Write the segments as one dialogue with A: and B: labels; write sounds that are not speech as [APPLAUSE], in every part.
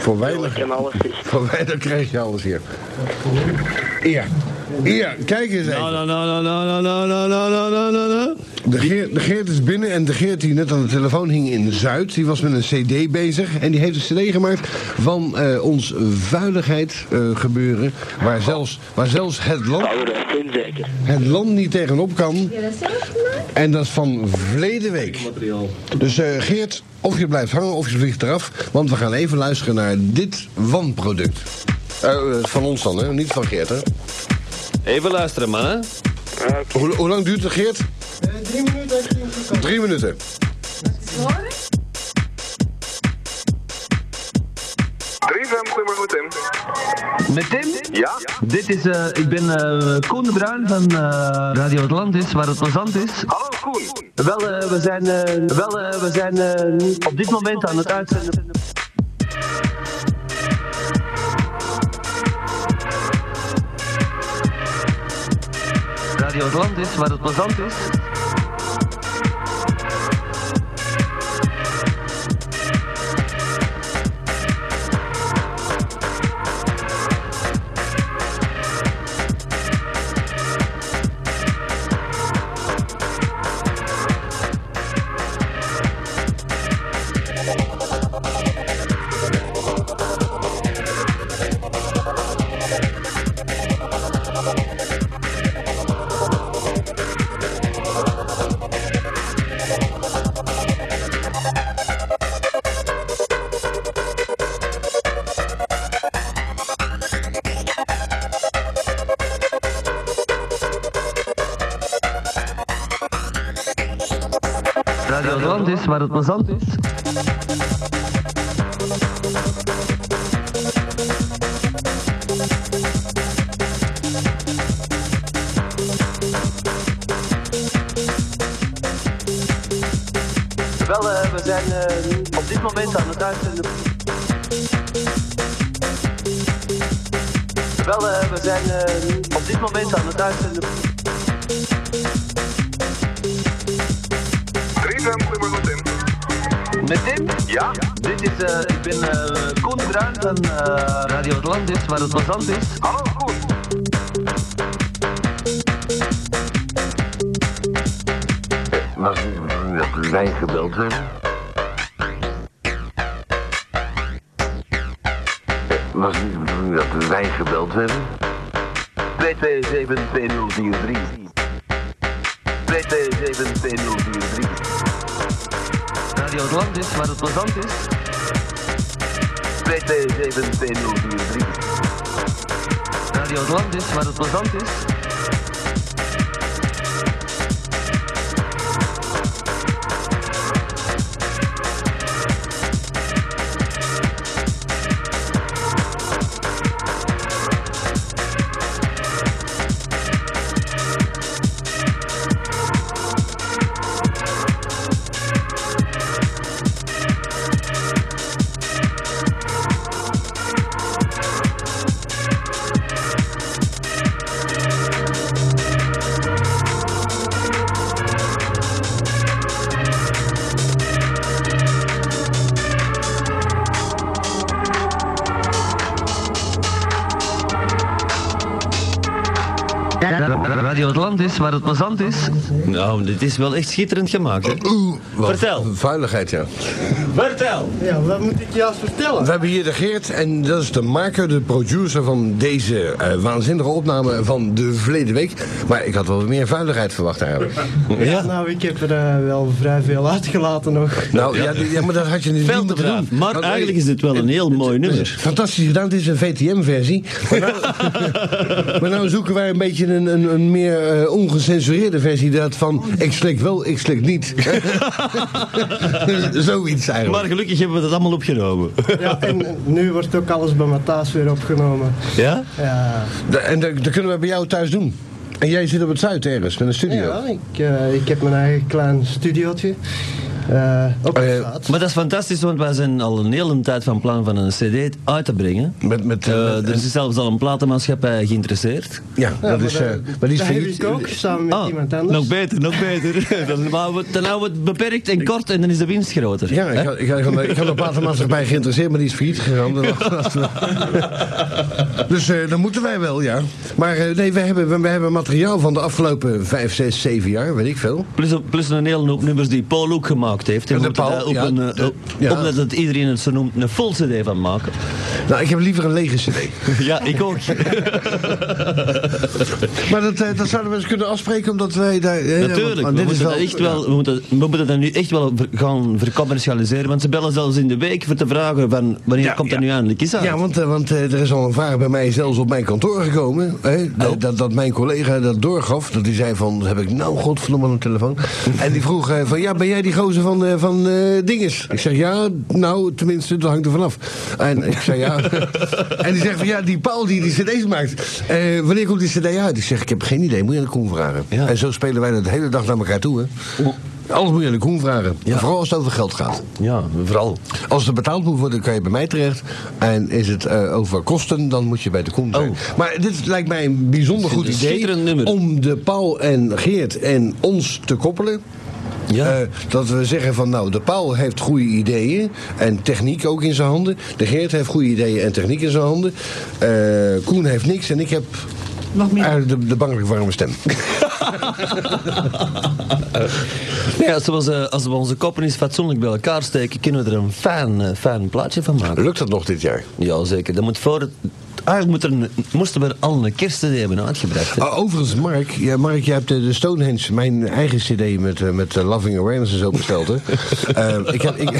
A: Voor weinig,
B: En alles is.
A: voor weinig krijg je alles hier. Hier, hier kijk eens even.
C: Nou, nou, nou, nou, nou, nou, nou, nou, nou, nou, nou, nou.
A: De Geert, de Geert is binnen en de Geert die net aan de telefoon hing in Zuid, die was met een cd bezig en die heeft een cd gemaakt van eh, ons vuiligheid eh, gebeuren, waar zelfs, waar zelfs het, land,
B: Oh, dat kind zeker.
A: het land niet tegenop kan.
D: Ja, dat zelf gemaakt?
A: En dat is van verleden week. Dus eh, Geert, of je blijft hangen of je vliegt eraf, want we gaan even luisteren naar dit wanproduct. Eh, eh, van ons dan, hè? niet van Geert. Hè?
C: Even luisteren, mannen.
A: Hoe, hoe lang duurt het, Geert?
E: drie minuten heeft hij hem gekozen.
A: Drie minuten.
D: Hoor?
F: Drie fem, goedemorgen
G: Met Tim?
F: Ja?
G: Dit is, eh, ik ben eh Koen de Bruin van eh, Radio Atlantis, waar het plezant is.
F: Hallo Koen.
G: Wel, eh, we zijn, eh, wel, eh, we zijn eh, op dit moment aan het uitzenden. Radio Atlantis, waar het plezant is. Radio Atlantis, waar het plezant is. Wel, eh, we zijn eh, op dit moment aan het uitzenden. Wel, eh, we zijn eh, op dit moment aan het uitzenden.
F: Drie fem, goedemorgen
G: Met Tim?
F: Ja?
G: Dit is, eh, ik ben eh Koen de Bruin van eh, Radio Atlantis, waar het plezant is.
F: Hallo Koen.
B: Was dat wij gebeld hebben? Was dat wij gebeld hebben? 227-2043. 227-2043.
G: Radio Atlantis, waar het plezant is.
B: 227-2043.
G: Radio Atlantis, waar het plezant is. Radio Atlantis, waar het plezant is.
C: Nou, dit is wel echt schitterend gemaakt, hè? Vertel.
A: Vuiligheid, ja.
C: Vertel.
E: Ja, wat moet ik juist vertellen?
A: We hebben hier de Geert en dat is de maker, de producer van deze eh, waanzinnige opname van de verleden week. Maar ik had wel wat meer vuiligheid verwacht
C: [LAUGHS]
A: eigenlijk.
C: Ja.
E: Nou, ik heb er eh, wel vrij veel uitgelaten nog.
A: [LAUGHS] Nou, ja, d- ja, maar dat had je niet
C: Veel te
A: moeten
C: braaf.
A: doen.
C: Maar
A: Want, eh,
C: eigenlijk is dit wel een heel mooi nummer.
A: Fantastisch gedaan, dit is een VTM-versie. Maar,
C: [LAUGHS]
A: nou, maar nou zoeken wij een beetje een, een, een meer eh, ongecensureerde versie. Dat van, ik slik wel, ik slik
C: [LAUGHS]
A: niet. [LAUGHS] Zoiets eigenlijk.
C: Maar gelukkig hebben we dat allemaal
G: [LAUGHS]
C: opgenomen.
E: Ja, en nu wordt ook alles bij Matthijs weer opgenomen.
C: Ja?
E: Ja,
A: Da- En dat, dat kunnen we bij jou thuis doen. En jij zit op het Zuid ergens, met een studio.
E: ja ik, eh, ik heb mijn eigen klein studiootje. eh
A: Oh,
E: opgestaat.
G: Maar dat is fantastisch, want wij zijn al een hele tijd van plan van een cd uit te brengen.
A: Met, met, eh,
G: Eh,
A: met-
G: er is zelfs al een platenmaatschappij geïnteresseerd.
A: ja, dat is... eh, maar die is Ah,
E: dat heb
A: failliet.
E: ik ook, samen met iemand anders.
A: nou,
G: nog beter, nog beter. [LAUGHS] dan, houden we, dan houden we het beperkt en kort en dan is de winst groter.
A: Ja, ik had, ik, had, ik, had, ik had een platenmaatschappij geïnteresseerd, maar die is failliet [LAUGHS] gegaan. dus eh dan moeten wij wel, ja. Maar eh, nee, we hebben, we, we hebben materiaal van de afgelopen 5, 6, 7 jaar, weet ik veel.
G: Plus, plus een hele hoop nummers die Paul ook gemaakt heeft. En
A: De
G: we moeten
A: Paul,
G: daar ook
A: ja,
G: een, eh,
A: de-
G: op-
A: ja.
G: Omdat het iedereen het zo noemt, een full cd van maken.
A: Nou, ik heb liever een lege cd.
G: [LAUGHS] ja, ik ook.
A: [LAUGHS] Maar dat, eh, dat zouden we eens kunnen afspreken, omdat wij daar... eh, want-
G: Natuurlijk,
A: want
G: we moeten, dat echt wel, we, moeten, we moeten dat nu echt wel ver- gaan vercommercialiseren. Want ze bellen zelfs in de week voor te vragen van wanneer komt dat nu eindelijk is uit.
A: Ja, want, eh, want eh, er is al een vraag bij mij zelfs op mijn kantoor gekomen.
G: Oh.
A: Hè, dat, dat, dat mijn collega dat doorgaf. Dat hij zei van, heb ik nou godverdomme aan de
G: [LAUGHS]
A: telefoon. en die vroeg eh, van, ja, ben jij die gozer van, eh, van eh, Dinges? Ik zeg, ja, nou, tenminste, dat hangt er vanaf. En ik zei,
G: [LAUGHS]
A: ja. en die zegt van, ja, die Paul die die cd's maakt. eh, wanneer komt die cd uit? Ik zeg, ik heb geen idee, moet je aan de Koen vragen.
G: Ja.
A: En zo spelen wij dat de hele dag naar elkaar toe, hè. Alles moet je aan de Koen vragen. Vooral als het over geld gaat.
G: Ja, vooral.
A: Als er betaald moet worden, kan je bij mij terecht. En is het eh, over kosten, dan moet je bij de Koen zijn. Maar dit lijkt mij een bijzonder goed
G: Oh. een
A: idee
G: schitterend nummer.
A: om de Paul en Geert en ons te koppelen.
G: Ja.
A: Eh, dat we zeggen van nou, de Paul heeft goede ideeën en techniek ook in zijn handen. De Geert heeft goede ideeën en techniek in zijn handen. Eh, Koen heeft niks en ik heb eigenlijk de, de bangelijk warme
G: [LAUGHS]
A: stem.
G: Nee, als, we onze, als we onze koppen eens fatsoenlijk bij elkaar steken, kunnen we er een fijn, eh, fijn plaatje van maken.
A: Lukt dat nog dit jaar?
G: Ja, zeker. Dat moet voor het, eigenlijk moet er een, moesten we er al een kerst hebben uitgebracht. hè.
A: Ah, overigens, Mark, ja, Mark, jij hebt de, de Stonehenge, mijn eigen cd met, eh, met eh, Loving Awareness en zo
G: [LAUGHS]
A: besteld, hè? Eh, ik heb, ik, [LAUGHS]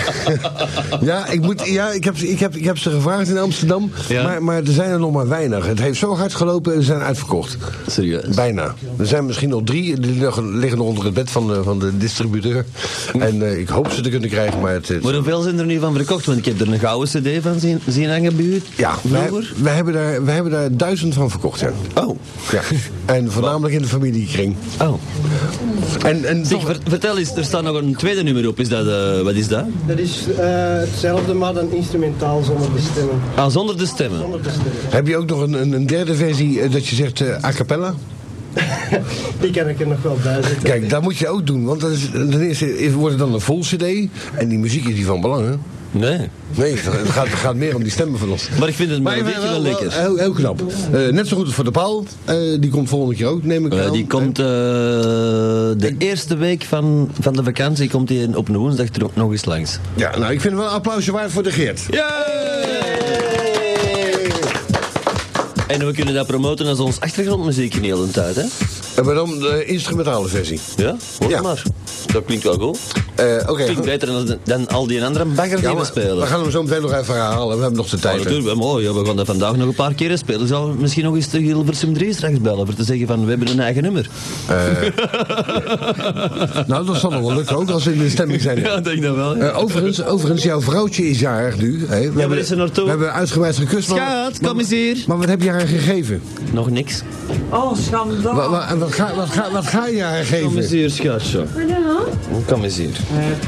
A: ja, ik, moet, ja ik, heb, ze- ik, heb, ik heb ze gevraagd in Amsterdam,
G: Ja.
A: maar, maar er zijn er nog maar weinig. Het heeft zo hard gelopen en ze zijn uitverkocht.
G: Serieus.
A: Bijna. Er zijn misschien nog drie, die liggen liggen nog onder het bed van de, van de distributeur. En eh, ik hoop ze te kunnen krijgen, maar het... het-
G: Maar hoeveel zijn er nu van verkocht? Want ik heb er een gouden cd van zien, zien hangen buurt.
A: ja, wij,
G: vroeger.
A: wij, hebben daar, wij hebben daar duizend van verkocht, ja.
G: Oh,
A: ja. En voornamelijk in de familiekring.
G: oh.
A: En, en
G: Zeg,
A: toch-
G: ver- vertel eens, er staat nog een tweede nummer op. Is dat, eh, wat is dat?
E: Dat is eh, hetzelfde, maar dan instrumentaal zonder de stemmen.
G: Ah, zonder de stemmen.
E: Zonder de stemmen.
A: Heb je ook nog een, een, een derde versie eh, dat je zegt eh, a cappella?
E: Die kan ik er nog wel bij zetten.
A: Kijk, dat moet je ook doen, want dat is, ten eerste is- wordt het dan een vol cd en die muziek is niet van belang, hè?
G: Nee.
A: Nee, het gaat, het gaat meer om die stemmen van ons. eh,
G: Maar ik vind het melodietje wel lekker.
A: Heel, heel knap. Eh, net zo goed als voor de paal. Eh, die komt volgende keer ook, neem ik
G: Eh,
A: aan.
G: die komt eh, de eerste week van, van de vakantie komt die op een woensdag er ook nog eens langs.
A: Ja, nou, ik vind het wel een applausje waard voor de Geert.
G: En we kunnen dat promoten als ons achtergrondmuziek in de hele tijd, hè?
A: En maar dan de instrumentale versie.
G: Ja? Hoor
A: Ja.
G: maar. Dat klinkt wel goed.
A: Eh, Oké.
G: Klinkt beter dan, dan al die andere bagger
A: Ja,
G: die we
A: maar we
G: spelen.
A: gaan hem zo meteen nog even herhalen. We hebben nog de
G: Ja,
A: tijd. hè.
G: natuurlijk, mooi. Ja, we gaan Oh, dat vandaag nog een paar keren spelen. Zal misschien nog eens de Hilversum 3 straks bellen. Voor te zeggen van, we hebben een eigen nummer.
A: nou, dat zal nog wel lukken, ook als ze in de stemming
G: [LAUGHS]
A: zijn.
G: Ja, denk dat wel.
A: Eh, overigens, overigens, jouw vrouwtje is jarig nu. Hè? We hebben-
G: is ze naartoe?
A: We hebben uitgebreid gekust. maar-
G: Schat, kom eens hier.
A: Maar wat heb je haar gegeven?
G: Nog niks.
B: Oh, schandaal.
A: Wat, wat, wat, ga, wat, ga, wat ga je haar geven?
G: hier, schatje.
H: Pardon?
G: Kom eens hier.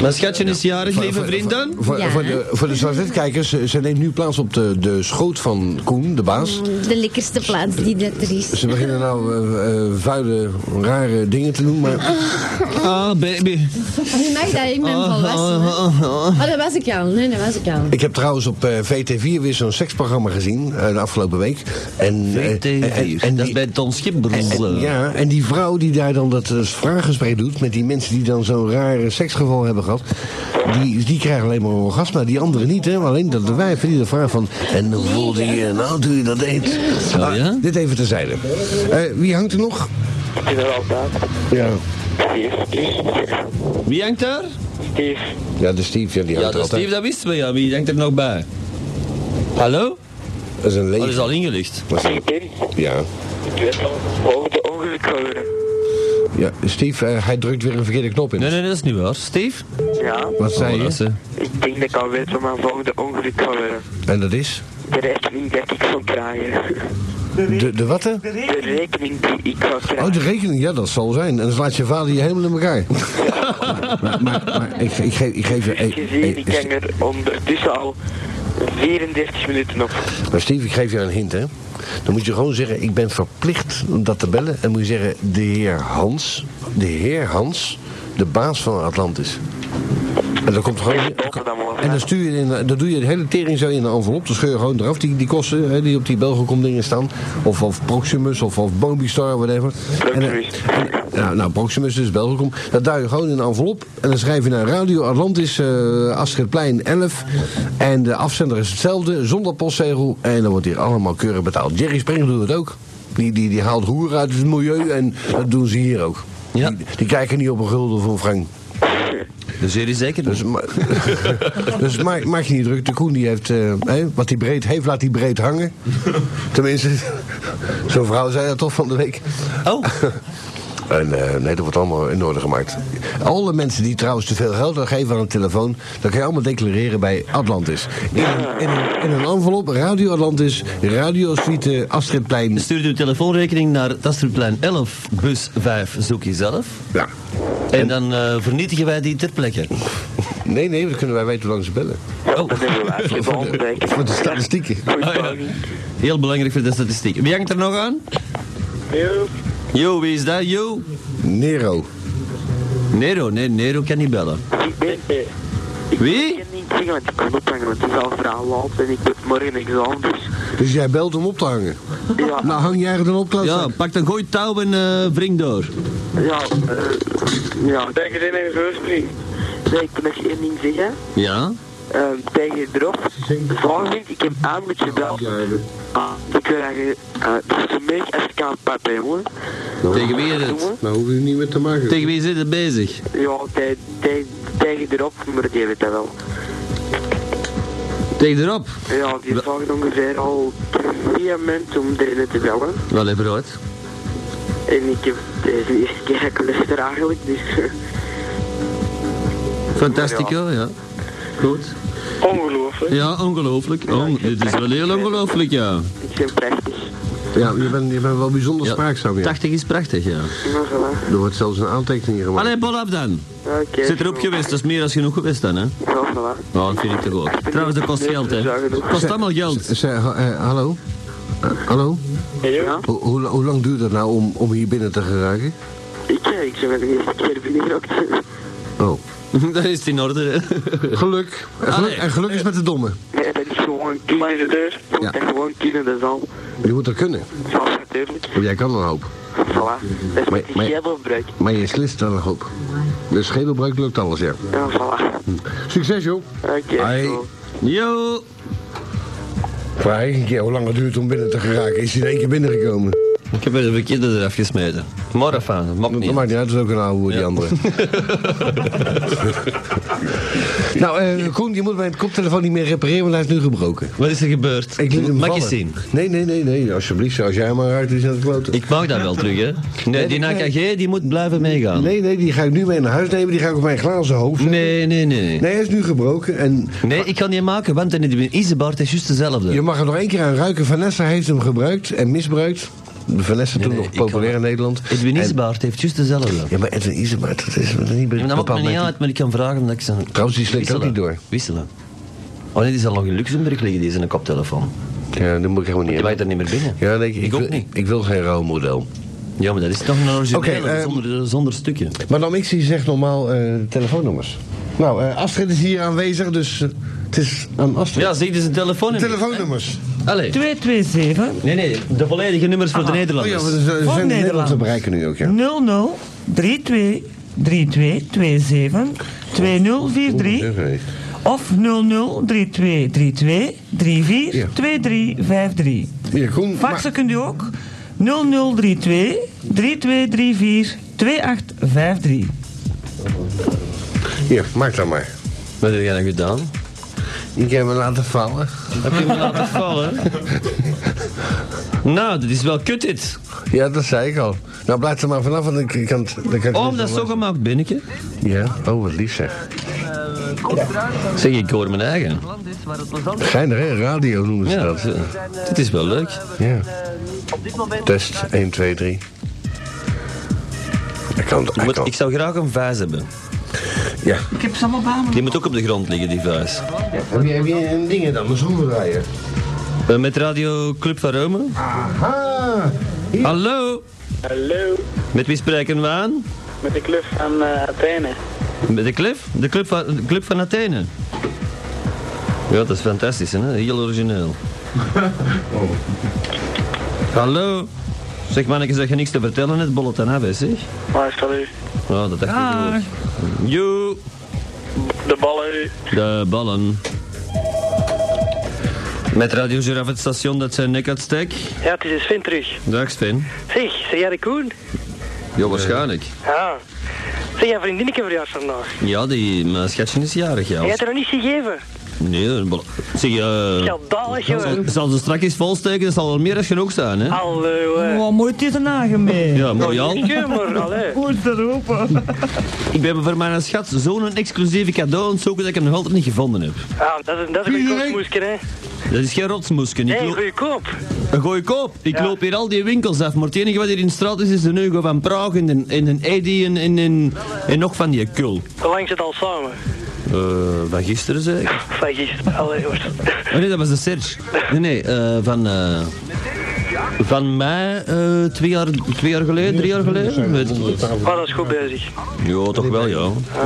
G: Mijn schatje is jarig, lieve vrienden.
A: Voor,
D: Ja.
A: voor de, voor de Zwarzit-kijkers, ze ze neemt nu plaats op de, de schoot van Koen, de baas.
D: De lekkerste plaats die dat er is.
A: Ze beginnen nou eh, eh, vuile, rare dingen te doen, maar
G: Ah, baby.
D: Je mag dat, ik ben
G: Ah,
D: volwassen. hè. Oh, dat was ik al. Nee, dat was ik al.
A: ik heb trouwens op eh, VT4 weer zo'n seksprogramma gezien eh, de afgelopen week. En, eh, en- en-
G: VT4.
A: en
G: Dat is
A: die-
G: bij Ton
A: En-
G: Schipbroel.
A: en- ja, en die vrouw die daar dan dat eh, vraaggesprek doet met die mensen die dan zo'n rare seksgeval hebben gehad, die, die krijgen alleen maar een orgasme. Die anderen niet, hè? maar alleen dat de wijven die de vraag van. En hoe voelde je je nou toen je dat deed? Ah,
G: ja?
A: Dit even terzijde. Eh, wie hangt er nog? Ja.
G: Wie hangt daar?
A: Ja, de Steve, ja, die hangt
G: Ja,
A: er
G: dat
A: altijd.
G: Steve, dat wisten we. Ja. Wie hangt er nog bij? Hallo? Oh,
A: Dat is een
G: Dat is
A: leeg.
G: al ingelicht.
A: Ja. ja, Steve, eh, hij drukt weer een verkeerde knop in.
G: Nee, nee, dat is niet waar. Steve?
I: Ja,
A: Wat zei
G: Oh, dat
A: je?
G: is, eh,
I: ik denk dat ik al weet waar mijn volgende ongeluk gaat worden.
A: En dat is?
I: De rest niet dat ik van krijgen.
A: De, de wat? hè?
B: De rekening die ik ga krijgen.
A: Oh, de rekening, ja, dat zal zijn. En dan slaat je vader je helemaal in elkaar. [LAUGHS] maar, maar, maar ik, ik, geef, ik geef je. eh,
B: gezien,
A: eh,
B: ik hang er ondertussen al 34 minuten op.
A: Maar Steve, ik geef je een hint, hè. Dan moet je gewoon zeggen, ik ben verplicht om dat te bellen. En moet je zeggen, de heer Hans, de heer Hans, de baas van Atlantis. En dan komt gewoon... En dan stuur je het in, eh, dan doe je de hele tering zo in een envelop. Dan scheur je gewoon eraf die, die kosten hè, die op die Belgicom dingen staan. Of, of Proximus of, of Bobistar, whatever. En, eh,
B: Proximus.
A: en- nou, nou, Proximus dus Belgicom. Dat duw je gewoon in een envelop. En dan schrijf je naar Radio Atlantis, eh Astridplein 11. En de afzender is hetzelfde, zonder postzegel. En dan wordt hier allemaal keurig betaald. Jerry Springer doet het ook. Die, die, die haalt roer uit het milieu en dat doen ze hier ook.
G: Ja.
A: Die, die kijken niet op een gulden voor Frank.
G: Dus jullie zeker
A: Dus, ma- [LAUGHS] dus maak, maak je niet druk. De Koen die heeft, eh, hè, wat hij breed heeft, laat hij breed hangen. Tenminste, [LAUGHS] zo'n vrouw zei dat toch van de week.
G: Oh,
A: En eh, nee, dat wordt allemaal in orde gemaakt. Alle mensen die trouwens te veel geld aan geven aan een telefoon, dat kan je allemaal declareren bij Atlantis. In een, in een, in een envelop, Radio Atlantis, Radio Suite, Astridplein.
G: stuur uw telefoonrekening naar Tasterplein 11, bus 5, zoek jezelf.
A: Ja.
G: En dan eh, vernietigen wij die ter plekke.
A: Nee, nee, dan kunnen wij weten hoe lang ze bellen.
B: Ja, dat hebben
A: [LAUGHS]
B: we uitgevonden.
A: Voor de statistieken. Oh,
B: Goed
G: Ah, ja.
B: poging.
G: Heel belangrijk voor de statistiek. Wie hangt er nog aan? Yo, wie is dat? Yo?
A: Nero.
G: Nero, nee, Nero kan niet bellen.
B: Ik ben... eh, Ik
G: Wie?
B: kan niet zeggen, want ik kan ophangen, want het is al verhaal laat en ik moet morgen examen, dus...
G: [LAUGHS]
A: Dus jij belt om op te hangen.
B: Ja,
A: Nou, hang jij er dan op,
G: Ja,
A: klootzak?
G: pak dan gooi touw en eh breng door.
B: ja, eh, ja.
J: Denk eens in een geurspring.
B: Nee, ik kan nog één ding zeggen.
G: Ja?
B: Ehm, tegen erop. Volgende ik heb aan met je bel. Ah, ik wil eigenlijk... eh, Het is een beetje als ik aan het papa, jongen.
G: Tegen wie is het?
B: Jongen.
A: Nou, hoef je niet meer te maken.
G: Tegen wie zit het bezig?
B: Ja, tij- tij- tegen erop, maar die weet dat wel.
G: Tegen erop.
B: Ja, die vraagt ongeveer al drie mensen om erin te bellen.
G: Wel even uit.
B: En ik heb deze eerste keer dat ik luister eigenlijk, dus...
G: Fantastico, ja. Goed.
J: Ongelooflijk.
G: Ja, ongelooflijk. Oh, dit is wel heel ongelooflijk, ja.
B: Ik ben prachtig.
A: Ja, je bent, je bent wel bijzonder
G: Ja,
A: spraakzaam. Ja.
G: 80 is prachtig, ja.
B: Nou, voilà.
A: Er wordt zelfs een aantekening gemaakt.
G: Allee, bol op dan.
B: Oké.
G: Zit erop geweest, dat is meer dan genoeg geweest dan, hè.
B: Ja, voilà.
G: Ja, dat vind ik toch ook. Trouwens, dat kost geld, hè. Kost allemaal geld.
A: Zeg, ha- eh, hallo? Eh, hallo?
B: Ja,
A: Ho- hoe, hoe lang duurt het nou om, om hier binnen te geraken?
B: ik, eh, ik ben wel de eerste keer binnengerokt.
A: Oh.
G: [LAUGHS] Dat is het in orde, hè.
A: Geluk. En geluk,
G: Allee.
A: en geluk is met de domme.
B: Nee, dat is gewoon kunnen.
J: de deur.
B: Je
A: Ja.
B: moet dat gewoon kunnen, dat is al.
A: Je moet er kunnen.
B: Dat is natuurlijk.
A: Want jij kan een hoop.
B: Voilà. Dat is
A: Maar-
B: met die
A: maar-
B: schedelbruik.
A: Maar je slist er een hoop. De schedelbreuk lukt alles, ja.
B: Ja, voilà.
A: Succes, joh.
B: Oké,
A: Hoi.
B: zo.
G: Yo!
A: Vraag ik een keer hoe lang het duurt om binnen te geraken. Is hij in één keer binnengekomen?
G: Ik heb weer de verkeerde eraf gesmeten. Maar enfin, dat mag
A: Dat
G: niet.
A: maakt niet uit, dat is ook een oude die [LAUGHS] andere. nou, eh, Koen, je moet mijn koptelefoon niet meer repareren, want hij is nu gebroken.
G: Wat is er gebeurd?
A: Ik liet hem
G: mag
A: vallen.
G: je zien?
A: Nee, nee, nee, nee. Alsjeblieft, als jij maar raakt, is dat kloten.
G: Ik mag dat wel terug, hè. Nee, die
A: Nee,
G: NKG die moet blijven meegaan.
A: Nee, nee, die ga ik nu mee naar huis nemen. Die ga ik op mijn glazen hoofd. zetten.
G: Nee, nee, nee.
A: Nee, hij is nu gebroken. En
G: Nee, ik kan niet maken, want in de Isebaard is juist dezelfde.
A: je mag er nog één keer aan ruiken. Vanessa heeft hem gebruikt en misbruikt. Vanessa toen
G: nee,
A: nog
G: ik kan-
A: populair in Nederland.
G: Edwin
A: En-
G: Isebaard heeft juist dezelfde.
A: Ja, maar Edwin Isemaat, dat is me niet
G: Ja, maar dat maakt me
A: bepaald
G: niet
A: met-
G: uit, maar ik kan vragen dat ik ze...
A: Trouwens, die slikt ook
G: Wisselen.
A: niet door.
G: Wisselen. Oh nee, die zal nog in Luxemburg liggen, die is een koptelefoon.
A: Ja, dat moet ik helemaal niet
G: Die
A: hebben.
G: wijt er niet meer binnen.
A: Ja, nee, ik,
G: Ik
A: ik,
G: ook
A: wil,
G: niet.
A: ik wil geen rouwmodel.
G: Ja, maar dat is toch een originele,
A: Oké, eh,
G: zonder, zonder stukje.
A: Madame X die zegt normaal eh, telefoonnummers. Nou, eh, Astrid is hier aanwezig, dus eh, het is aan Astrid.
G: Ja, zie, dit is een telefoon.
A: Telefoonnummers.
G: Allee.
I: 227
G: Nee, nee, de volledige nummers voor de
A: Oh ja,
G: Nederlanders.
A: we zijn in Nederland
I: Nederland.
A: te bereiken nu ook, ja.
I: 00 32 32 27 2043 of 00 32 32 34 2353.
A: Ja, Koen,
I: Faxen kunt u ook 0032 3234 2853.
A: ma- hier, maak dat maar.
G: Wat heb jij nou gedaan?
A: Ik heb hem laten vallen.
G: Heb je me laten vallen? nou, dit is wel kut dit.
A: Ja, dat zei ik al. Nou, blijf er maar vanaf, want ik ik kan het... ik kan het
G: Oh,
A: niet
G: dat is
A: zo
G: zo
A: laten.
G: gemaakt, binnetje.
A: Ja, oh, wat lief zeg.
J: Koen Bruin van
G: Zeg, ik hoor mijn eigen.
J: Landis, waar het plezant is.
A: Geinig, hè? Radio noemen ze
G: Ja,
A: dat.
G: zo. dit is wel leuk.
A: Ja.
J: Op dit moment...
A: Test 1, 2, 3. Ik kan het,
G: Je
A: hij
G: moet-
A: kan
G: ik
A: het.
G: zou graag een vuis hebben.
A: Ja.
I: Ik heb ze allemaal bij me.
G: Die moet ook op de grond liggen, die vuis.
A: Heb je, heb je een ding dan, een schroevendraaier?
G: Eh, Met Radio Club van Rome.
B: Ah.
A: Aha!
G: Hallo,
B: Hallo,
G: met wie spreken we aan?
B: met de club van eh, Athene.
G: Met de club? De club van, de club van Athene. Ja, dat is fantastisch, hè? Heel origineel. Hallo. Zeg mannetjes dat je niks te vertellen hebt, bollet en af, hè, zeg.
B: Maar salut.
G: Oh, dat dacht
I: Dag.
G: ik ook. Joe,
B: De ballen.
G: de ballen. Met Radio Giraffe het station dat zijn nek uitstek.
B: Ja, het is Sven terug.
G: Dag Sven.
B: Zeg, zeg jij de Koen?
G: Ja, waarschijnlijk.
B: Ja. Zeg jij vriendinnetje verjaarsdag vandaag?
G: Ja, die, mijn schatje is jarig, ja.
B: Jij hebt er nog niet gegeven.
G: Nee, een bolle- Zeg, eh...
B: Schandalig,
G: Zal,
B: joh.
G: zal ze strak eens volsteken, dat zal wel meer dan genoeg zijn, hè?
B: Hallo, eh. hè.
A: Eh.
I: Oh, moet je er nagen mee?
G: Ja, mooi al.
B: Kummer, allee.
I: Goed erop.
G: Ik ben voor mijn schat zo'n exclusieve cadeau aan het zoeken dat ik hem nog altijd niet gevonden heb.
B: Ja, dat is, dat is een
A: Iedereen-
B: koopmoesje, hè.
G: Dat is geen rotsmoesken. Ik
B: Nee,
G: loop,
B: goeie koop.
G: een goeie koop. Ik
B: Ja.
G: loop hier al die winkels af, maar het enige wat hier in de straat is, is de Hugo van Praag en een en een Eddy en, en, en, en nog van die kul.
B: Hoe lang zit al samen?
G: Eh, van gisteren zeker?
B: Van gisteren. Allee, hoor.
G: Oh nee, dat was de Serge. Nee, nee, eh, van... eh, van mij, eh, twee, jaar, twee jaar geleden, drie jaar geleden, weet ik niet.
B: [LAUGHS] Maar dat is goed bezig.
G: Ja, toch wel, ja.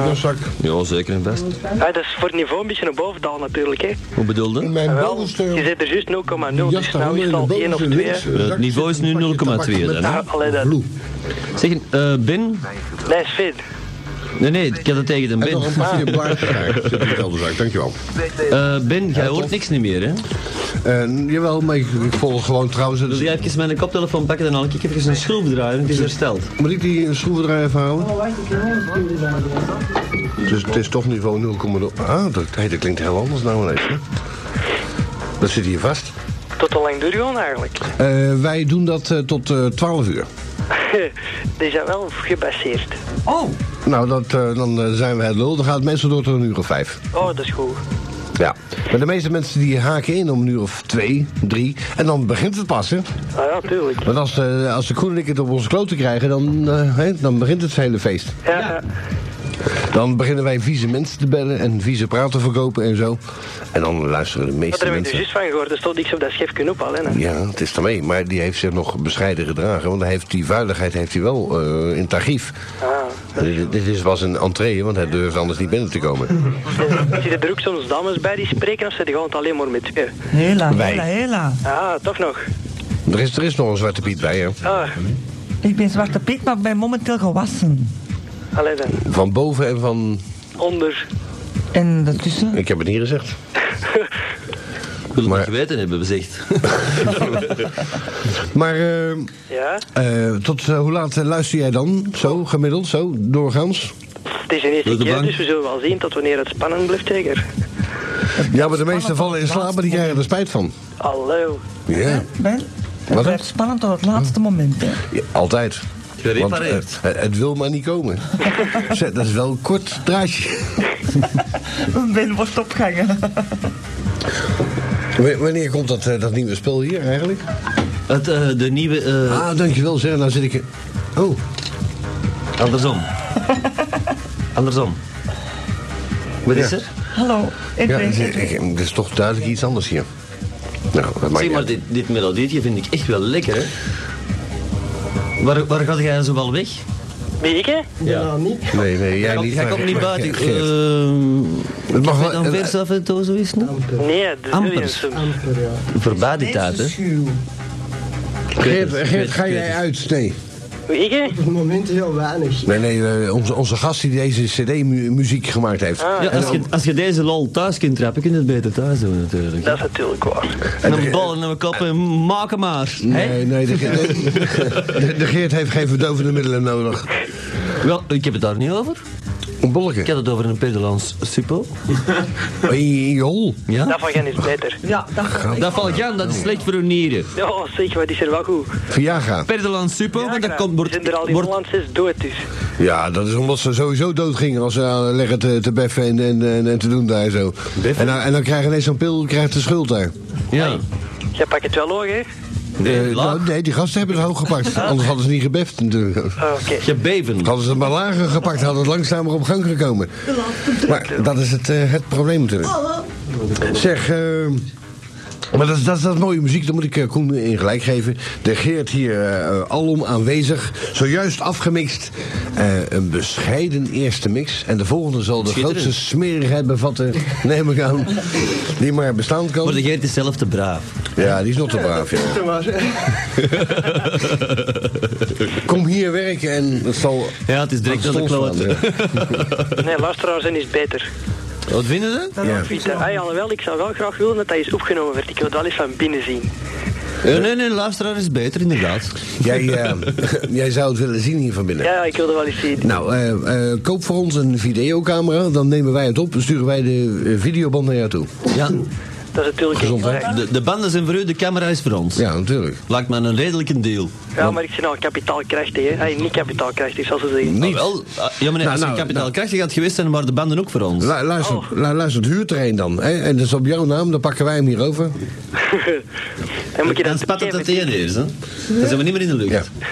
A: Een zak.
B: Ah,
G: Ja, zeker en vast.
B: Ja, dat is voor het niveau een beetje naar boven daal natuurlijk, hè.
G: Hoe bedoelde?
A: Mijn
B: Wel,
A: bovenste...
B: je zit er juist 0,0, dus nou is het al 1 of 2.
G: Het niveau is nu 0,2 dan, hè?
B: Allee, dat...
A: Bloed.
G: Zeg, eh Ben?
B: Nee, Sven.
G: Nee, nee, ik had het tegen de
A: En nog
G: Ben.
A: een
B: Ah.
A: pakje blaar Zit in dezelfde zak, dankjewel.
G: Eh, ben, jij hoort niks niet meer, hè?
A: Eh jawel, maar ik, ik volg gewoon trouwens...
G: Wil
A: Dus,
G: jij even mijn koptelefoon pakken en dan ik even een schroef draaien, het is hersteld.
A: moet ik die schroevendraaier even halen? Dus het is toch niveau 0,0. Ah, dat, hey, dat klinkt heel anders nou ineens. Hè? Dat zit hier vast.
B: Tot hoe lang duurt je gewoon eigenlijk? [LAUGHS]
A: Eh, wij doen dat eh, tot eh 12 uur.
B: Die zijn wel gebaseerd.
I: Oh,
A: Nou, dat, eh, dan eh, zijn wij lul. Dan gaat het meestal door tot een uur of vijf.
B: Oh, dat is goed.
A: Ja. Maar de meeste mensen die haken in om een uur of twee, drie. En dan begint het pas, hè.
B: Ah ja, tuurlijk.
A: Want als, eh, als de Koen en ik het op onze kloten krijgen, dan, eh, hè, dan begint het hele feest.
B: Ja, ja.
A: Dan beginnen wij vieze mensen te bellen en vieze praten te verkopen en zo. En dan luisteren de
B: Wat
A: meeste
B: heb ik er
A: mensen.
B: juist van gehoord? Er stond niks op dat schepje op al, hè.
A: Ja, het is daarmee. Maar die heeft zich nog bescheiden gedragen. Want hij heeft die vuiligheid heeft hij wel eh, in het archief. Eh,
B: Ah.
A: Dit, dit is, was een entree, want hij durfde anders niet binnen te komen.
B: Zitten er ook soms dames bij die spreken of zitten gewoon het alleen maar met twee?
I: hela,
A: Wij.
I: hela, hela.
B: Ah, toch nog.
A: Er is, er is nog een zwarte piet bij, hè.
B: Ah,
I: Ik ben Zwarte Piet, maar ben momenteel gewassen.
B: allee dan.
A: Van boven en van...
B: Onder.
I: En daartussen?
A: Ik heb het niet gezegd.
G: Ik wil het
A: Maar-
G: niet geweten hebben, bezegd.
A: Maar eh,
B: Ja.
A: eh, tot eh, hoe laat eh, luister jij dan? Zo, gemiddeld, zo, doorgaans?
B: Het is een eerste
G: Door de
B: keer,
G: bank.
B: dus we zullen wel zien tot wanneer het spannend blijft, zeker.
A: Ja, maar de meesten vallen in slaap, maar die krijgen er spijt van.
B: Hallo.
A: Ja,
I: Wel,
A: Wat
I: het blijft
A: dan?
I: spannend tot het laatste moment, hè.
A: ja, altijd. Want, eh,
G: Gerepareerd.
A: het, het wil maar niet [LAUGHS] komen. Zeg, dat is wel een kort draadje.
I: Ben wordt opgehangen.
A: W- wanneer komt dat, eh, dat nieuwe spel hier eigenlijk?
G: [LAUGHS] Het, eh, de nieuwe... eh,
A: Ah, dankjewel zeg, nou zit ik... in- Oh,
G: [LAUGHS] andersom. andersom. Wat is
A: Ja.
G: er?
I: Hallo, ik
A: ja,
I: ben...
A: het, is- ik- het is toch duidelijk iets anders hier. Nou, dat maakt
G: Zeg
A: niet
G: maar,
A: uit.
G: dit, dit melodietje vind ik echt wel lekker, hè? Waar, waar gaat jij zo wel weg?
B: Wie ik, hè?
E: Ja. Nou, niet.
A: Nee, nee, jij
G: Jij
A: niet. maar-
G: komt niet
A: maar [LAUGHS]
G: buiten.
A: Geert- Geert.
G: eh,
A: Het mag
G: Weet
A: wel...
G: dan
A: eh,
G: vers af en toe zoiets, nee?
B: Nee, de
G: Amper.
B: Williams soms.
E: Amper, ja.
G: Voorbij die tijd, hè?
A: Eh, Geert, Geert, ga jij uit? Nee.
B: Wie ik, hè?
E: Op het moment heel weinig.
A: Nee, nee, eh, onze, onze gast die deze cd-muziek gemaakt heeft.
G: Ja, als, je, als je deze lol thuis kunt trappen, kun je het beter thuis doen natuurlijk.
B: Dat is natuurlijk waar.
G: En een bal en een kop en maak hem maar. hè?
A: Nee, nee, de, Geert- [LAUGHS] de, de Geert heeft geen verdovende middelen nodig.
G: Wel, ik heb het daar niet over.
A: Een
G: Ik had
A: bolletje.
G: het over een Nederlands suppel.
A: Hey, joh.
G: Ja?
B: Dat van Gent is beter.
I: Ja, dat
G: Dat valt Jan, dat is slecht voor uw nieren.
B: Ja, zeg, wat is er wel goed?
A: Viagra.
G: Perdelands suppel, want dat komt, wordt,
B: Zijn er al die
G: wordt,
B: Hollandses dood dus.
A: Ja, dat is omdat ze sowieso doodgingen als ze aan leggen te, te beffen en, en, en, en te doen daar zo. En, dan- en dan krijgen ineens zo'n pil, krijgt de schuld daar.
G: ja.
B: Jij pakt het wel hoog, hè?
A: Eh, nou, nee, die gasten hebben het hoog gepakt. Anders hadden ze niet gebeft natuurlijk.
B: Ah, Oké.
G: Gebeven.
A: Hadden ze het maar lager gepakt, hadden het langzamer op gang gekomen. Maar dat is het, eh, het probleem natuurlijk. Zeg, eh, maar dat, is- dat, is- dat is mooie muziek, daar moet ik eh, Koen in gelijk geven. De Geert hier eh, eh, alom aanwezig, zojuist afgemixt. Eh, een bescheiden eerste mix. En de volgende zal de
G: Schitterend.
A: grootste smerigheid bevatten,
G: [LAUGHS]
A: neem ik aan. Die maar bestaan
G: Maar
A: kan.
G: de Geert is zelf te braaf.
A: Ja, die is nog te braaf, ja.
E: Doe maar.
A: Kom hier werken en het zal...
G: Ja, het is direct aan de
A: stond
G: kloot.
A: slaan, ja.
B: Nee, luisteraars zijn is beter.
G: Wat vinden ze? [LAUGHS]
A: Ja.
B: Ik vind dat, hey, alhoewel, ik zou wel graag willen dat hij is opgenomen werd. Ik wil dat wel eens van binnen zien.
G: Eh, nee, nee, luisteraar is beter, inderdaad.
A: Jij, eh, [LAUGHS] jij zou het willen zien hier van binnen.
B: Ja, ja, ik wil dat wel eens zien.
A: Nou, eh, eh, koop voor ons een videocamera. Dan nemen wij het op en sturen wij de eh, videoband naar jou toe.
G: Ja,
B: Dat is natuurlijk echt
A: Gezondheid.
B: belangrijk.
G: de, de banden zijn voor u, de camera is voor ons.
A: Ja, natuurlijk.
G: Lijkt me een redelijke deal.
B: Ja, maar ik ben al kapitaalkrachtig, hè. Hey, niet kapitaalkrachtig, zoals ze zeggen.
A: Niet.
G: Ah, wel, ah, ja, meneer,
A: Nou,
G: als je
A: nou,
G: kapitaalkrachtig had geweest, zijn waren de banden ook voor ons.
A: Lu- luister,
B: Oh.
A: lu- luister, het huurt er een dan. Hè? En dat is op jouw naam, dan pakken wij hem hier over.
B: [LAUGHS] Dan
A: Eh,
B: moet je
G: Dan
B: dat
G: spat het
B: bekennen.
G: dat één eerst, hè. Dan zijn we niet meer in de lucht.
A: Ja.
G: Ja,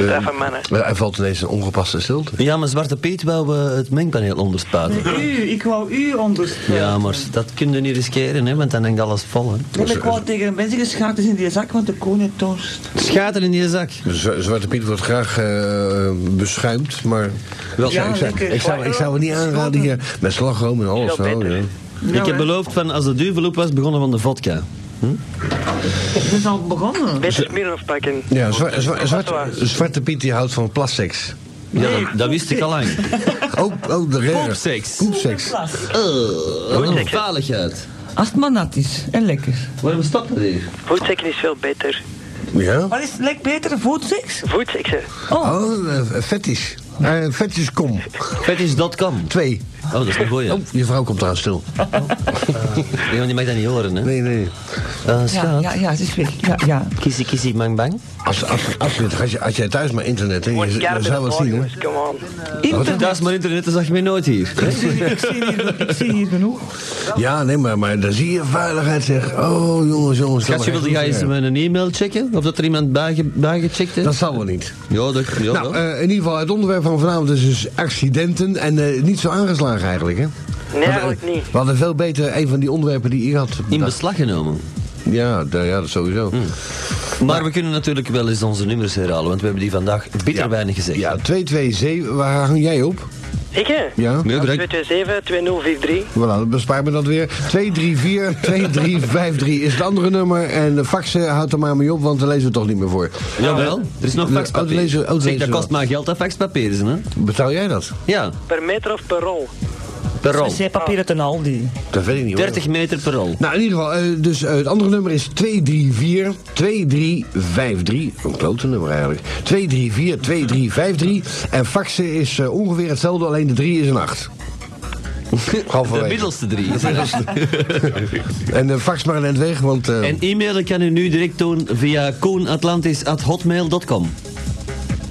A: Eh,
B: Dat is van mannen.
A: Maar Hij valt ineens een ongepaste stilte.
G: maar Zwarte Piet wou eh, het mengpaneel onderspuiten.
I: Eh, U, ik wou u ondersteunen.
G: Ja, maar dat kun je niet riskeren, hè, want dan hangt alles vol. Hè.
I: Nee, maar ik wou tegen mensen geschaakt is in die zak, want de koning dorst.
G: Schater in je zak.
A: Z- Zwarte Piet wordt graag eh, beschuimd, maar...
B: Oh,
G: Wel,
A: ik, zou, ik, zou, ik, zou, ik zou het niet aanraden hier. Met slagroom en alles.
B: Veel
A: hoor,
B: beter.
A: ja.
G: ik heb beloofd van als de duivel op was, begonnen van de vodka.
I: Het is al begonnen.
B: Beter Smirnoff pakken.
A: Ja, zwa- zwa-
B: Dat is
A: zwarte,
B: waar.
A: zwarte Piet die houdt van plastics.
G: Ja, dat, dat wist ik al lang.
A: Oh, oh de rare.
G: Poepseks.
A: Poepseks.
G: Oh, valigheid.
I: Als het maar nat is en lekker.
G: Waarom stopt dat hier?
B: Voetsekken is veel beter.
A: Ja?
I: Wat is het lek beter? Voedseks?
B: Voetsekken.
A: Oh, eh, fetish. Eh fetish kom.
G: Fetish.com.
A: Twee.
G: Oh, dat is een goeie.
A: Oh, je vrouw komt eraan stil.
G: Nee, want die mag dat niet horen, hè.
A: Nee, nee.
G: Eh,
I: Ja,
G: schat.
I: ja, ja, het is weg. Ja, ja.
G: Kissie, kissie, bang, bang.
A: Als, als, als, je- als, je, als jij thuis maar internet hebt,
B: Wordt
A: je-
B: jaar
A: dan
B: met
A: zou
B: het
A: het
B: vol,
A: zien. hè?
B: jongens, come on.
I: Internet.
G: Daar is maar internet, dat zag je mij nooit hier.
I: Ik zie hier, ik zie hier genoeg.
A: Ja, nee, maar, maar dan zie je veiligheid zeg. Oh, jongens, jongens. dat
G: Schatje,
A: mag
G: wilde
A: echt
G: jij
A: goed
G: eens
A: zijn.
G: met een e-mail checken? Of dat er iemand bijge- bijgecheckt
A: Dat
G: heeft?
A: zal wel niet.
G: Ja, dat... Ja, wel.
A: Nou, eh, in ieder geval, het onderwerp van vanavond is dus accidenten. En eh, niet zo aangeslagen eigenlijk, hè? eh,
B: Nee, eigenlijk niet.
A: We hadden veel beter een van die onderwerpen die je had.
G: in Hmm, beslag genomen.
A: Ja, d- ja, dat sowieso.
G: Maar we kunnen natuurlijk wel eens onze nummers herhalen, want we hebben die vandaag bitter
A: Ja.
G: weinig gezegd.
A: Ja, 227, waar hang jij op?
B: Ik, hè?
A: Ja?
G: Nee, direct.
B: 227-2043.
A: Voilà, dat bespaart me dat weer. 234 2353 is het andere nummer. En de faxen houdt er maar mee op, want daar lezen we toch niet meer voor.
G: Jawel, er is nog
A: Nou,
G: faxpapier.
A: oh, lezen- oh,
G: Zeg,
A: lezen
G: dat
A: wel.
G: kost maar geld, dat faxpapier is, hè?
A: Betaal jij dat?
G: Ja,
B: Per meter of per rol?
G: per rol.
I: Wc-papier ten Aldi.
A: Dat weet ik niet. hoor.
G: 30 meter per rol.
A: Nou, in ieder geval, eh, dus eh, het andere nummer is 234 2353. Een klote nummer eigenlijk. 234 2353. En faxen is eh, ongeveer hetzelfde, alleen de 3 is een 8.
G: De
A: Halverwege.
G: middelste [LAUGHS] drie.
A: En de fax maar net weg, want... eh,
G: En e-mailen kan u nu direct doen via koenatlantis.hotmail.com.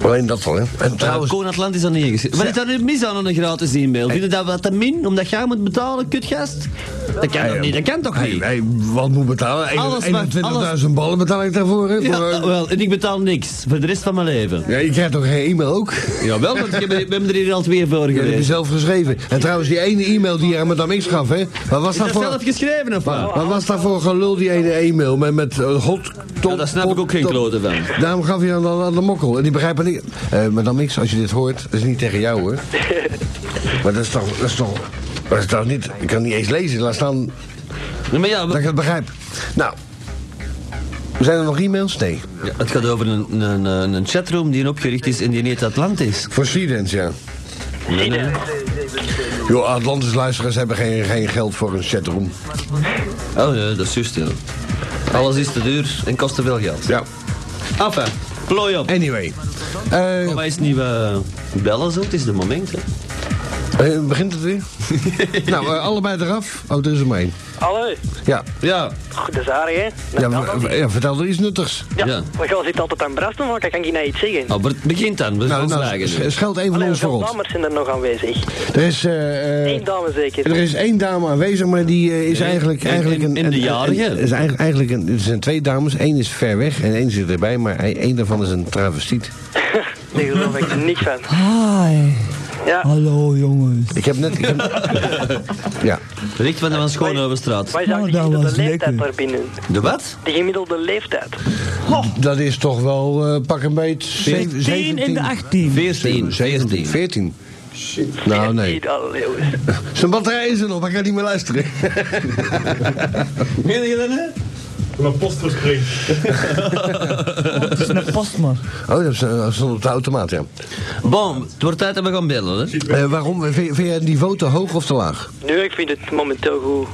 A: Alleen dat al, hè? En trouwens...
G: Koen Atlantis aan niet ingeschreven. Wat is daar nu mis aan een gratis e-mail? Vinden dat wat te min, omdat jij moet betalen, kutgast? Dat kan toch niet, dat kan toch
A: Hey,
G: niet?
A: hey, eh, wat moet betalen?
G: Alles wat-
A: 21.000 ballen betaal ik daarvoor, hè?
G: Ja,
A: Voor, eh,
G: wel, en ik betaal niks voor de rest van mijn leven.
A: Ja, je krijgt toch geen e-mail ook?
G: Jawel, want [LAUGHS] ik heb, we hebben er hier al twee voor
A: Dat heb je
G: geweest.
A: zelf geschreven. En trouwens, die ene e-mail die je aan madame X gaf, hè? Wat was
G: Is
A: dat
G: dat
A: voor...
G: zelf geschreven of wat?
A: Wat was daar voor gelul, die ene e-mail? Met, met eh, hot... Top,
G: Ja, daar snap ik ook geen klote van.
A: Daarom gaf je aan de, aan de mokkel. En die begrijpen niet... Eh madame X, als je dit hoort, dat is niet tegen jou, hoor. maar dat is toch... Dat is toch... Dat is toch niet... Ik kan niet eens lezen, laat staan
G: Nee, maar ja,
A: dat
G: we-
A: ik het begrijp. Nou... Zijn er nog e-mails? Nee.
G: ja, het gaat over een, een, een, een chatroom die opgericht is en die heet Atlantis.
A: Voor Seedens, ja. Joh, Atlantis luisteraars hebben geen, geen geld voor een chatroom.
G: Oh nee, dat is juist, ja. Alles is te duur en kost te veel geld.
A: Ja.
G: Enfin, plooi op.
A: Anyway. Eh,
G: Maar wij is niet eh, bellen zo, het is de moment. Hè.
A: eh, begint het weer? nou, eh, allebei eraf. Oh, er is er maar één.
B: Hallo,
A: Ja,
G: Ja,
B: dat is Arie, hè?
A: ja, w- w- ja, vertel er iets nuttigs.
G: ja.
B: Maar jij zit altijd aan brasten, maar ik kan je nou iets zeggen.
G: Nou, Bert, begint dan, we zijn
A: Nou,
G: ons
A: nou,
G: eigen
A: sch-
G: nu.
A: scheld één van
B: Allee,
A: ons voor
B: hoeveel
A: ons.
B: dames zijn er nog aanwezig?
A: Er is, eh, eh,
B: Eén dame zeker.
A: er is één dame aanwezig, maar die eh, is
G: Nee,
A: eigenlijk,
G: in-
A: eigenlijk
G: in-
A: een...
G: in de
A: een-
G: jarige.
A: een- is eigenlijk, eigenlijk een, er zijn twee dames. Eén is ver weg en één zit erbij, maar hij- één daarvan is een travestiet.
B: Daar geloof ik niks van.
I: Hi.
B: Ja.
I: Oh, Hallo jongens.
A: Ik heb net... Ik heb, ja.
G: Richt van de Schoonhovenstraat.
B: Wat is
I: Nou,
B: eigenlijk
I: dat
B: de
I: was
B: gemiddelde
I: lekker.
B: leeftijd daar binnen?
G: De wat?
B: De gemiddelde leeftijd.
A: Dat is toch wel eh, pak een beet...
I: 10 in de 18.
G: 14.
A: 17. 14. Nou, nee.
B: Niet al, jongens.
A: Zijn batterij is er nog, hij kan niet meer luisteren.
G: Meen je dat, hè?
I: Het is een postman.
A: Oh, dat stond dat stond op de automaat, ja.
G: Bom, het wordt tijd dat we gaan bellen, hè?
A: Eh, waarom? Vind, vind jij het niveau te hoog of te laag?
B: Nu, ik vind het momenteel goed.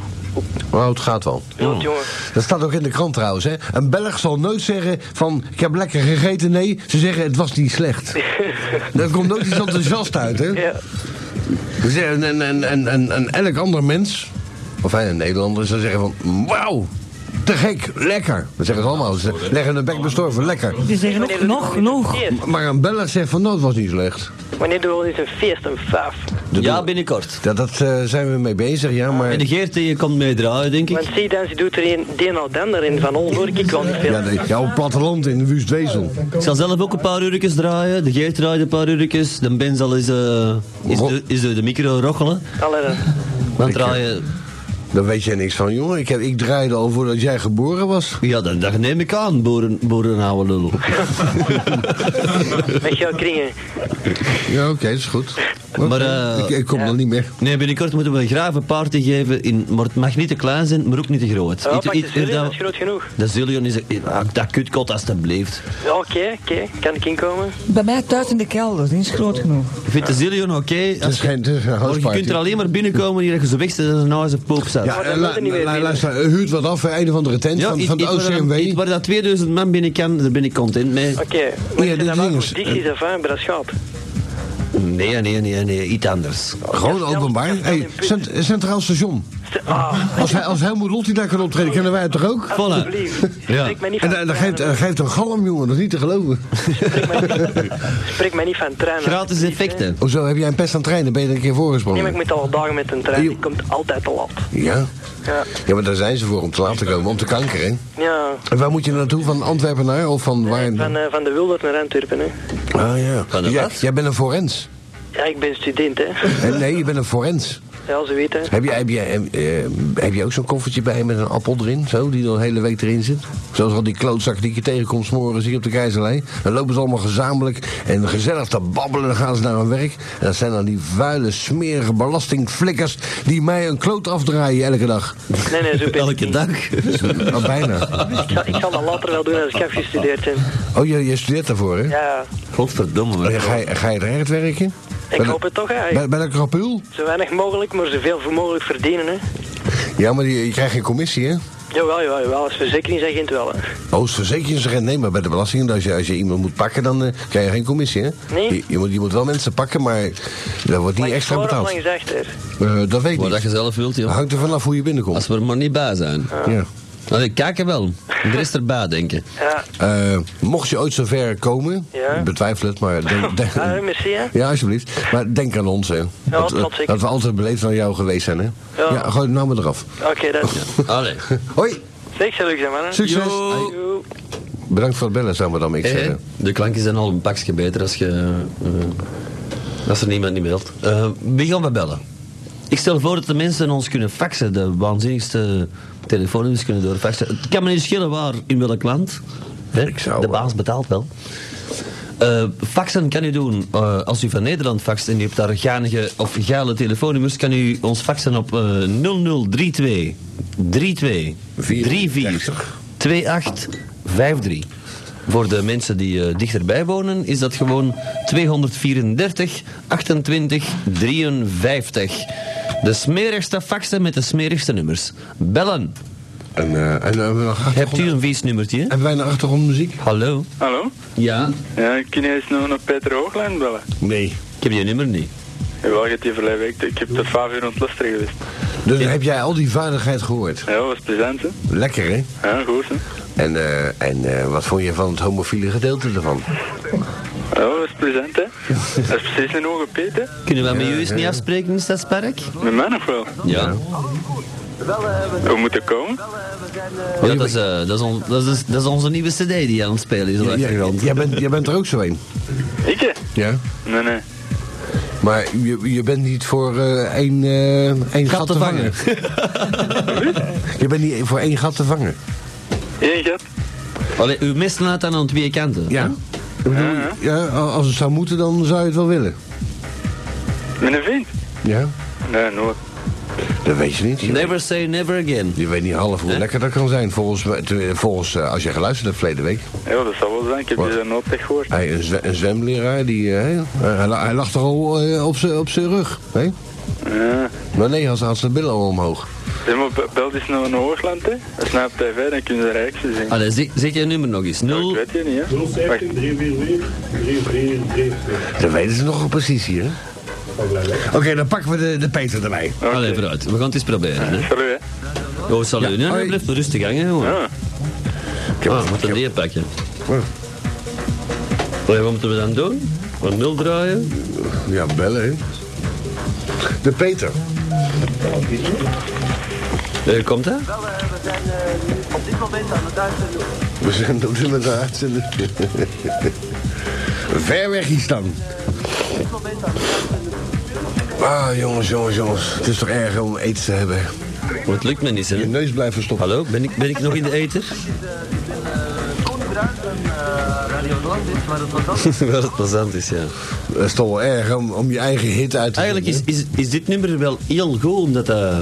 A: Oh, het gaat wel.
B: Goed, jongen.
A: Dat staat ook in de krant trouwens. Hè. Een Belg zal nooit zeggen van ik heb lekker gegeten. Nee, ze zeggen het was niet [LAUGHS] slecht. Daar komt nooit iets enthousiast uit. Hè.
B: Ja.
A: Ze zeggen, En, en, en, en, en elk ander mens, of hij een Nederlander, zou zeggen van wauw, te gek, lekker. Dat zeggen ze allemaal. Ze leggen hun bek bestorven, lekker.
I: Die zeggen
B: Wanneer
I: ook
B: doen we
I: nog,
B: eens een
I: nog.
B: feest?
A: Maar een Belg zegt van nou het was niet slecht.
B: Wanneer doen we eens een feest, een faaf?
A: Dat
G: Ja,
A: doen we-
G: binnenkort.
A: dat, dat eh, zijn we mee bezig, ja, maar...
G: En de Geert die komt meedraaien, denk
B: Want
G: ik.
B: zie dan, ze doet er een de een al dan erin. Van ons hoor ik ik wel niet veel.
A: Ja, de- ja, op het platteland in de Wustwezel.
G: Ik zal zelf ook een paar uurtjes draaien. De Geert draait een paar uurtjes. De Ben zal eens, eh, is, de, is de, de micro rochelen.
B: Allee, dan.
G: Dan draaien...
A: Daar weet jij niks van, jongen. Ik, heb, ik draaide al voordat jij geboren was.
G: Ja, dat, dat neem ik aan, boeren, boerenhouwe lul.
B: met jouw kringen.
A: Ja, oké, dat is goed. Oké,
G: Maar, eh,
A: ik, ik kom dan niet meer.
G: Nee, binnenkort moeten we een grave party geven. In, maar het mag niet te klein zijn, maar ook niet te groot.
B: Oh,
G: Iets-
B: pak de
G: iets- eh,
B: zillion,
G: dat-
B: dat is groot genoeg.
G: De Zillion is... ah, Dat kutkot, alstublieft.
B: Ja, oké, oké. Kan ik inkomen?
I: Bij mij thuis in de kelder, die is groot genoeg.
G: Ik vind de Zillion oké.
A: Het
G: als
A: is geen het is een
G: Maar je
A: houseparty.
G: kunt er alleen maar binnenkomen hier dat je zo weg zit als een huis op poep staat.
A: Ja,
B: Maar dat
A: eh, la-
B: wil je niet meer
A: la-
B: binnen.
A: luister, eh, huurt wat af, eh, een of andere tent van,
G: iets-
A: van de
G: iets waar dan-
A: OCMW.
G: iets Waar dat 2000 man binnen kan, daar ben ik content mee.
B: Oké. Maar
A: Ja,
B: ja,
A: dit
B: dat wel
A: ding
B: goed.
A: is-
B: Dicties en fijn, maar dat gaat.
G: Nee, nee, nee, nee, iets anders.
A: Gewoon
B: Ja,
A: openbaar.
B: ja,
A: Hey,
B: ja, ja.
A: cent- eh, Centraal Station.
B: Ah,
A: Als, hij, als Helmoet Lotti daar kan optreden, kunnen wij het toch ook?
B: alsjeblieft.
G: Ja.
B: Spreek mij niet
A: En
B: van
A: eh, dat geeft, dat geeft een galm, jongen. Dat is niet te geloven.
B: Spreek mij niet- Spreek mij niet van treinen.
G: Gratis effecten.
A: Hoezo, heb jij een pest aan treinen? Ben je er een keer
B: Nee, maar ik
A: voorgesprongen?
B: moet al dagen met een trein. Die komt altijd te laat.
A: Ja.
B: Ja.
A: Ja, maar daar zijn ze voor om te laat te komen, om te kankeren.
B: Ja.
A: En waar moet je naartoe? Van Antwerpen naar? Of van waar?
B: Van, eh, van de Wildert naar Antwerpen, hè.
A: Ah ja.
G: Van de
A: Ja,
G: wat?
A: jij bent een forens.
B: Ja, ik ben student, hè. [LAUGHS]
A: Eh, Nee, je bent een forens.
B: Ja, ze weten.
A: Heb je, heb je, eh, eh, heb je ook zo'n koffertje bij met een appel erin? Zo, die dan de hele week erin zit? Zoals al die klootzakken die ik je tegenkomt smoren hier op de Keizerlei. Dan lopen ze allemaal gezamenlijk en gezellig te babbelen. Dan gaan ze naar hun werk. En dat zijn dan die vuile, smerige belastingflikkers die mij een kloot afdraaien elke dag.
B: Nee, nee, zo ben ik
G: Elke
B: niet.
G: dag.
B: Dus-
A: Oh, bijna.
B: Ik ga, ik zal dat later wel doen als ik afgestudeerd ben.
A: Oh, je, je studeert daarvoor, hè?
B: Ja,
G: Godverdomme.
A: Oh, ja,
G: man.
A: ga, je, ga je er echt werken?
B: ik hoop het toch, hè.
A: Bij, bij een krapul?
B: Zo weinig mogelijk, maar zoveel mogelijk verdienen, hè.
A: Ja, maar die, je krijgt geen commissie, hè?
B: Jawel, jawel, jawel. Als verzekeringsagent wel, hè.
A: Oh, is verzekeringsagent? Nee, maar bij de belasting, als je, als je iemand moet pakken, dan eh, krijg je geen commissie, hè?
B: Nee.
A: Je, je moet, je moet wel mensen pakken, maar daar wordt niet
B: Langs
A: extra
B: voor of
A: betaald.
B: Langs achter.
A: Eh, dat weet ik
G: Wat dat
A: niet.
G: je zelf wilt,
A: Dat
G: joh.
A: hangt er vanaf hoe je binnenkomt.
G: Als we er maar niet bij zijn.
A: Ja.
G: Nou, ik kijk er wel. De rest erbij, denk ik.
B: Ja,
A: Eh, mocht je ooit zover komen,
B: Ja.
A: ik betwijfel het, maar... [LAUGHS] Denk, denk-
B: ah, merci, hè.
A: ja, alsjeblieft. Maar denk aan ons, hè. dat,
B: dat zeker.
A: dat we altijd beleefd aan jou geweest zijn, hè. Ja, gewoon nou maar eraf.
B: Oké, dat is het.
G: Allee.
A: Hoi,
B: Zeg, zal ik zeggen, mannen.
A: succes.
G: Yo. Eh?
B: Joe.
A: Bedankt voor het bellen, zou maar dan ik
G: Hé,
A: zeggen.
G: de klanken zijn al een pakje beter als je... eh, als er niemand niet mailt. Eh, wie gaan we bellen? Ik stel voor dat de mensen ons kunnen faxen. De waanzinnigste telefoonnummers kunnen doorfaxen. Het kan me niet schelen waar, in welk land. Hè,
A: Ik zou,
G: de
A: eh,
G: baas betaalt wel. Eh, faxen kan u doen eh, als u van Nederland faxt en u hebt daar ganige of geile telefoonnummers, kan u ons faxen op eh 0032 32 34 28 53. Voor de mensen die eh, dichterbij wonen is dat gewoon 234 28 53. De smerigste faxen met de smerigste nummers. Bellen.
A: En, eh, en, eh, hebben we nog
G: Hebt
A: achtergrond-
G: u een weesnummertje?
A: Hebben wij een achtergrondmuziek?
G: Hallo?
K: Hallo?
G: Ja?
K: Ja, kun je eens nog naar Peter Hoogland bellen?
A: Nee.
G: Ik heb je nummer niet.
K: Jawel, je hebt die verleden week, ik heb tot vijf uur ontluster geweest.
A: Dus heb jij al die vaardigheid gehoord?
K: Ja, was plezant, hè?
A: Lekker, hè?
K: Ja, goed, hè?
A: En, eh, en eh, wat vond je van het homofiele gedeelte ervan?
K: Ja, was Oh, plezant, hè? Dat is precies een hoge Peet, hè?
G: Kunnen we met u eens niet afspreken in Stadspark?
K: Met mij nog wel.
G: Ja.
K: We moeten komen.
G: Ja, dat, is, eh, dat, is on- dat, is, dat is onze nieuwe cd die aan het spelen is op de
A: Ja,
G: achtergrond.
A: jij, bent, jij bent er ook zo een.
K: Ik, hè?
A: Ja.
K: Nee, nee.
A: Maar je, je bent niet voor eh, één, eh, één gat, te vangen. [LAUGHS] je bent niet voor één gat te vangen.
K: Eén gat.
G: Allee, uw mes laat dan aan twee kanten.
A: Ja. Ik bedoel, ja, a- als het zou moeten, dan zou je het wel willen.
K: Met een vriend?
A: Ja?
K: Nee, nooit.
A: Dat weet je niet. Je, weet,
G: Never say never again.
A: je weet niet half hoe lekker dat kan zijn. Volgens, mij- te- volgens eh, als je geluisterd hebt verleden week.
K: Ja, dat zal wel zijn. Ik heb je daar nooit echt gehoord.
A: Hij, een, zwe- een zwemleraar, die, eh, hij, hij la- hij lag toch al eh, op zijn- op zijn rug. Hè?
K: Ja.
A: Maar nee, hij had- had zijn billen al omhoog.
K: Zeg maar, be- bel eens naar een Hoogland, hè? Dat is nou op tv, dan kun je de rijkste zien.
G: Allee, zeg, zeg je nummer nog eens.
K: Ik
G: 0...
K: weet je niet, hè? Wacht,
L: 344
A: Dat weten ze nog precies hier. hè? Oké, dan pakken we de, de Peter erbij.
G: Allee, vooruit. We gaan het eens proberen. Hè.
K: salut, hè?
G: Oh, salut. Nee, nee,
A: Hoi.
G: blijf rustig hangen, jongen.
K: Ja.
G: Ah, we moeten die pakken. Allee, wat moeten we dan doen? Een nul draaien?
A: Ja, bellen, hè? De Peter.
G: Eh, komt dat?
A: We zijn op dit moment aan het uitzenden. [LAUGHS] Ver weg is dan. Ah, jongens, jongens, jongens. Het is toch erg om eten te hebben.
G: Want het lukt me niet,
A: Je
G: hè?
A: neus blijft verstopt.
G: Hallo, ben ik, ben ik nog in de eter? [LAUGHS] Wel het plezant is, ja.
A: Dat is toch wel erg om, om je eigen hit uit te
G: Eigenlijk is,
A: zenden,
G: is, is dit nummer wel heel goed, omdat dat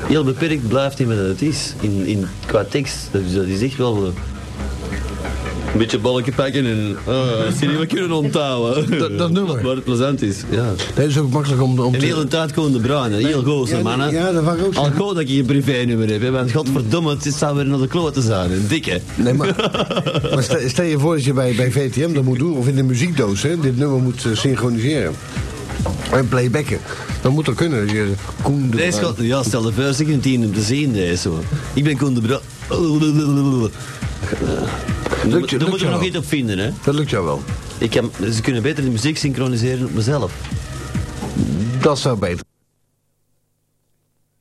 G: heel beperkt blijft in wat het is. In, in, qua tekst. Dus dat is echt wel... eh, een beetje balken pakken en... eh, Als je niet meer kunnen
A: [LAUGHS]
G: onthouden.
A: Dat- dat nummer.
G: Waar het plezant is, ja.
A: hè? Nee, het is ook makkelijk om, om
G: En
A: te...
G: heel de tijd gewoon de bruine, heel goos,
A: ja,
G: mannen.
A: ja, dat waren ook zo.
G: Al goed dat je je privé-nummer hebt, hè, want godverdomme, het zou weer naar de kloten zijn. Een dikke.
A: Nee, maar, maar stel, stel je voor dat je bij, bij VTM dat moet doen, of in de muziekdoos, hè, dit nummer moet eh, synchroniseren. En playbacken. Dat moet toch kunnen. dat Je, Koen de
G: Deze
A: Bruin.
G: gaat, ja, stel de vuist, ik een tien om te zien, deze hoor. Ik ben Koen de Bra...
A: lukt je
G: Daar moeten we
A: wel.
G: nog iets op vinden, hè.
A: Dat lukt jou wel.
G: Ik kan, ze kunnen beter de muziek synchroniseren op mezelf.
A: Dat zou beter.